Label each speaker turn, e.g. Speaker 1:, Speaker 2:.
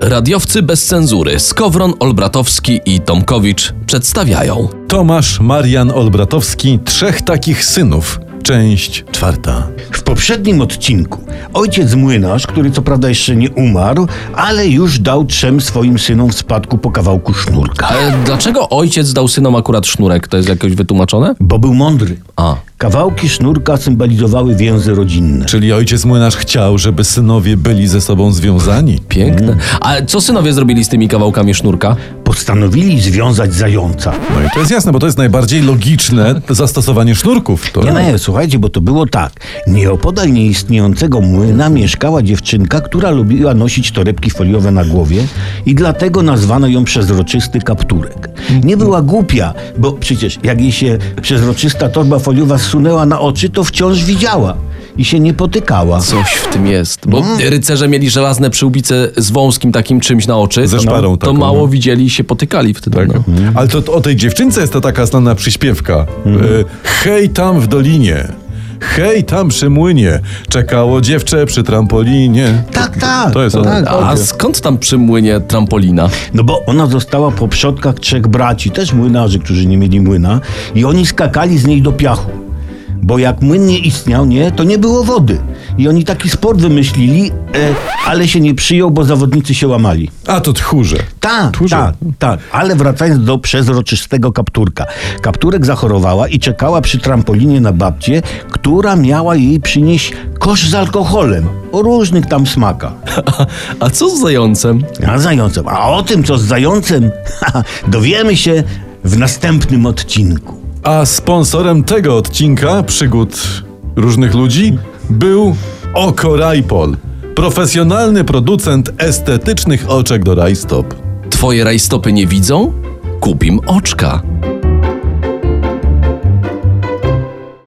Speaker 1: Radiowcy bez cenzury Skowron, Olbratowski i Tomkowicz przedstawiają
Speaker 2: Tomasz Marian Olbratowski, trzech takich synów. Część czwarta.
Speaker 3: W poprzednim odcinku ojciec młynarz, który co prawda jeszcze nie umarł, ale już dał trzem swoim synom w spadku po kawałku sznurka.
Speaker 1: Ale dlaczego ojciec dał synom akurat sznurek? To jest jakoś wytłumaczone?
Speaker 3: Bo był mądry.
Speaker 1: A.
Speaker 3: Kawałki sznurka symbolizowały więzy rodzinne.
Speaker 2: Czyli ojciec młynarz chciał, żeby synowie byli ze sobą związani.
Speaker 1: Piękne. A co synowie zrobili z tymi kawałkami sznurka?
Speaker 3: Postanowili związać zająca.
Speaker 2: No i to jest jasne, bo to jest najbardziej logiczne zastosowanie sznurków. To...
Speaker 3: Nie, nie, słuchajcie, bo to było tak. Nieopodal nieistniejącego młyna mieszkała dziewczynka, która lubiła nosić torebki foliowe na głowie i dlatego nazwano ją przezroczysty kapturek. Nie była głupia, bo przecież jak jej się przezroczysta torba foliowa zsunęła na oczy, to wciąż widziała i się nie potykała.
Speaker 1: Coś w tym jest. Bo
Speaker 2: Mm.
Speaker 1: rycerze mieli żelazne przyłbice z wąskim takim czymś na oczy.
Speaker 2: Ze szparą
Speaker 1: To
Speaker 2: taką,
Speaker 1: mało
Speaker 2: no.
Speaker 1: widzieli i się potykali wtedy.
Speaker 2: Tak.
Speaker 1: No.
Speaker 2: Ale to, to o tej dziewczynce jest ta taka znana przyśpiewka.
Speaker 3: Mhm.
Speaker 2: Y, Hej tam w dolinie, hej tam przy młynie, czekało dziewczę przy trampolinie.
Speaker 3: Tak, tak.
Speaker 2: To jest ona.
Speaker 3: tak,
Speaker 1: A
Speaker 3: tak.
Speaker 1: skąd tam przy młynie trampolina?
Speaker 3: No bo ona została po przodkach trzech braci, też młynarzy, którzy nie mieli młyna, i oni skakali z niej do piachu. Bo jak młyn nie istniał, nie, to nie było wody. I oni taki sport wymyślili, e, ale się nie przyjął, bo zawodnicy się łamali.
Speaker 2: A to tchórze.
Speaker 3: Tak,
Speaker 2: Tchórze.
Speaker 3: tak, tak. Ale wracając do przezroczystego kapturka. Kapturek zachorowała i czekała przy trampolinie na babcię, która miała jej przynieść kosz z alkoholem o różnych tam smakach.
Speaker 1: A co z zającem?
Speaker 3: A z zającem. A o tym, co z zającem, dowiemy się w następnym odcinku.
Speaker 2: A sponsorem tego odcinka przygód różnych ludzi był Oko Rajpol, profesjonalny producent estetycznych oczek do rajstop.
Speaker 1: Twoje rajstopy nie widzą? Kup im oczka.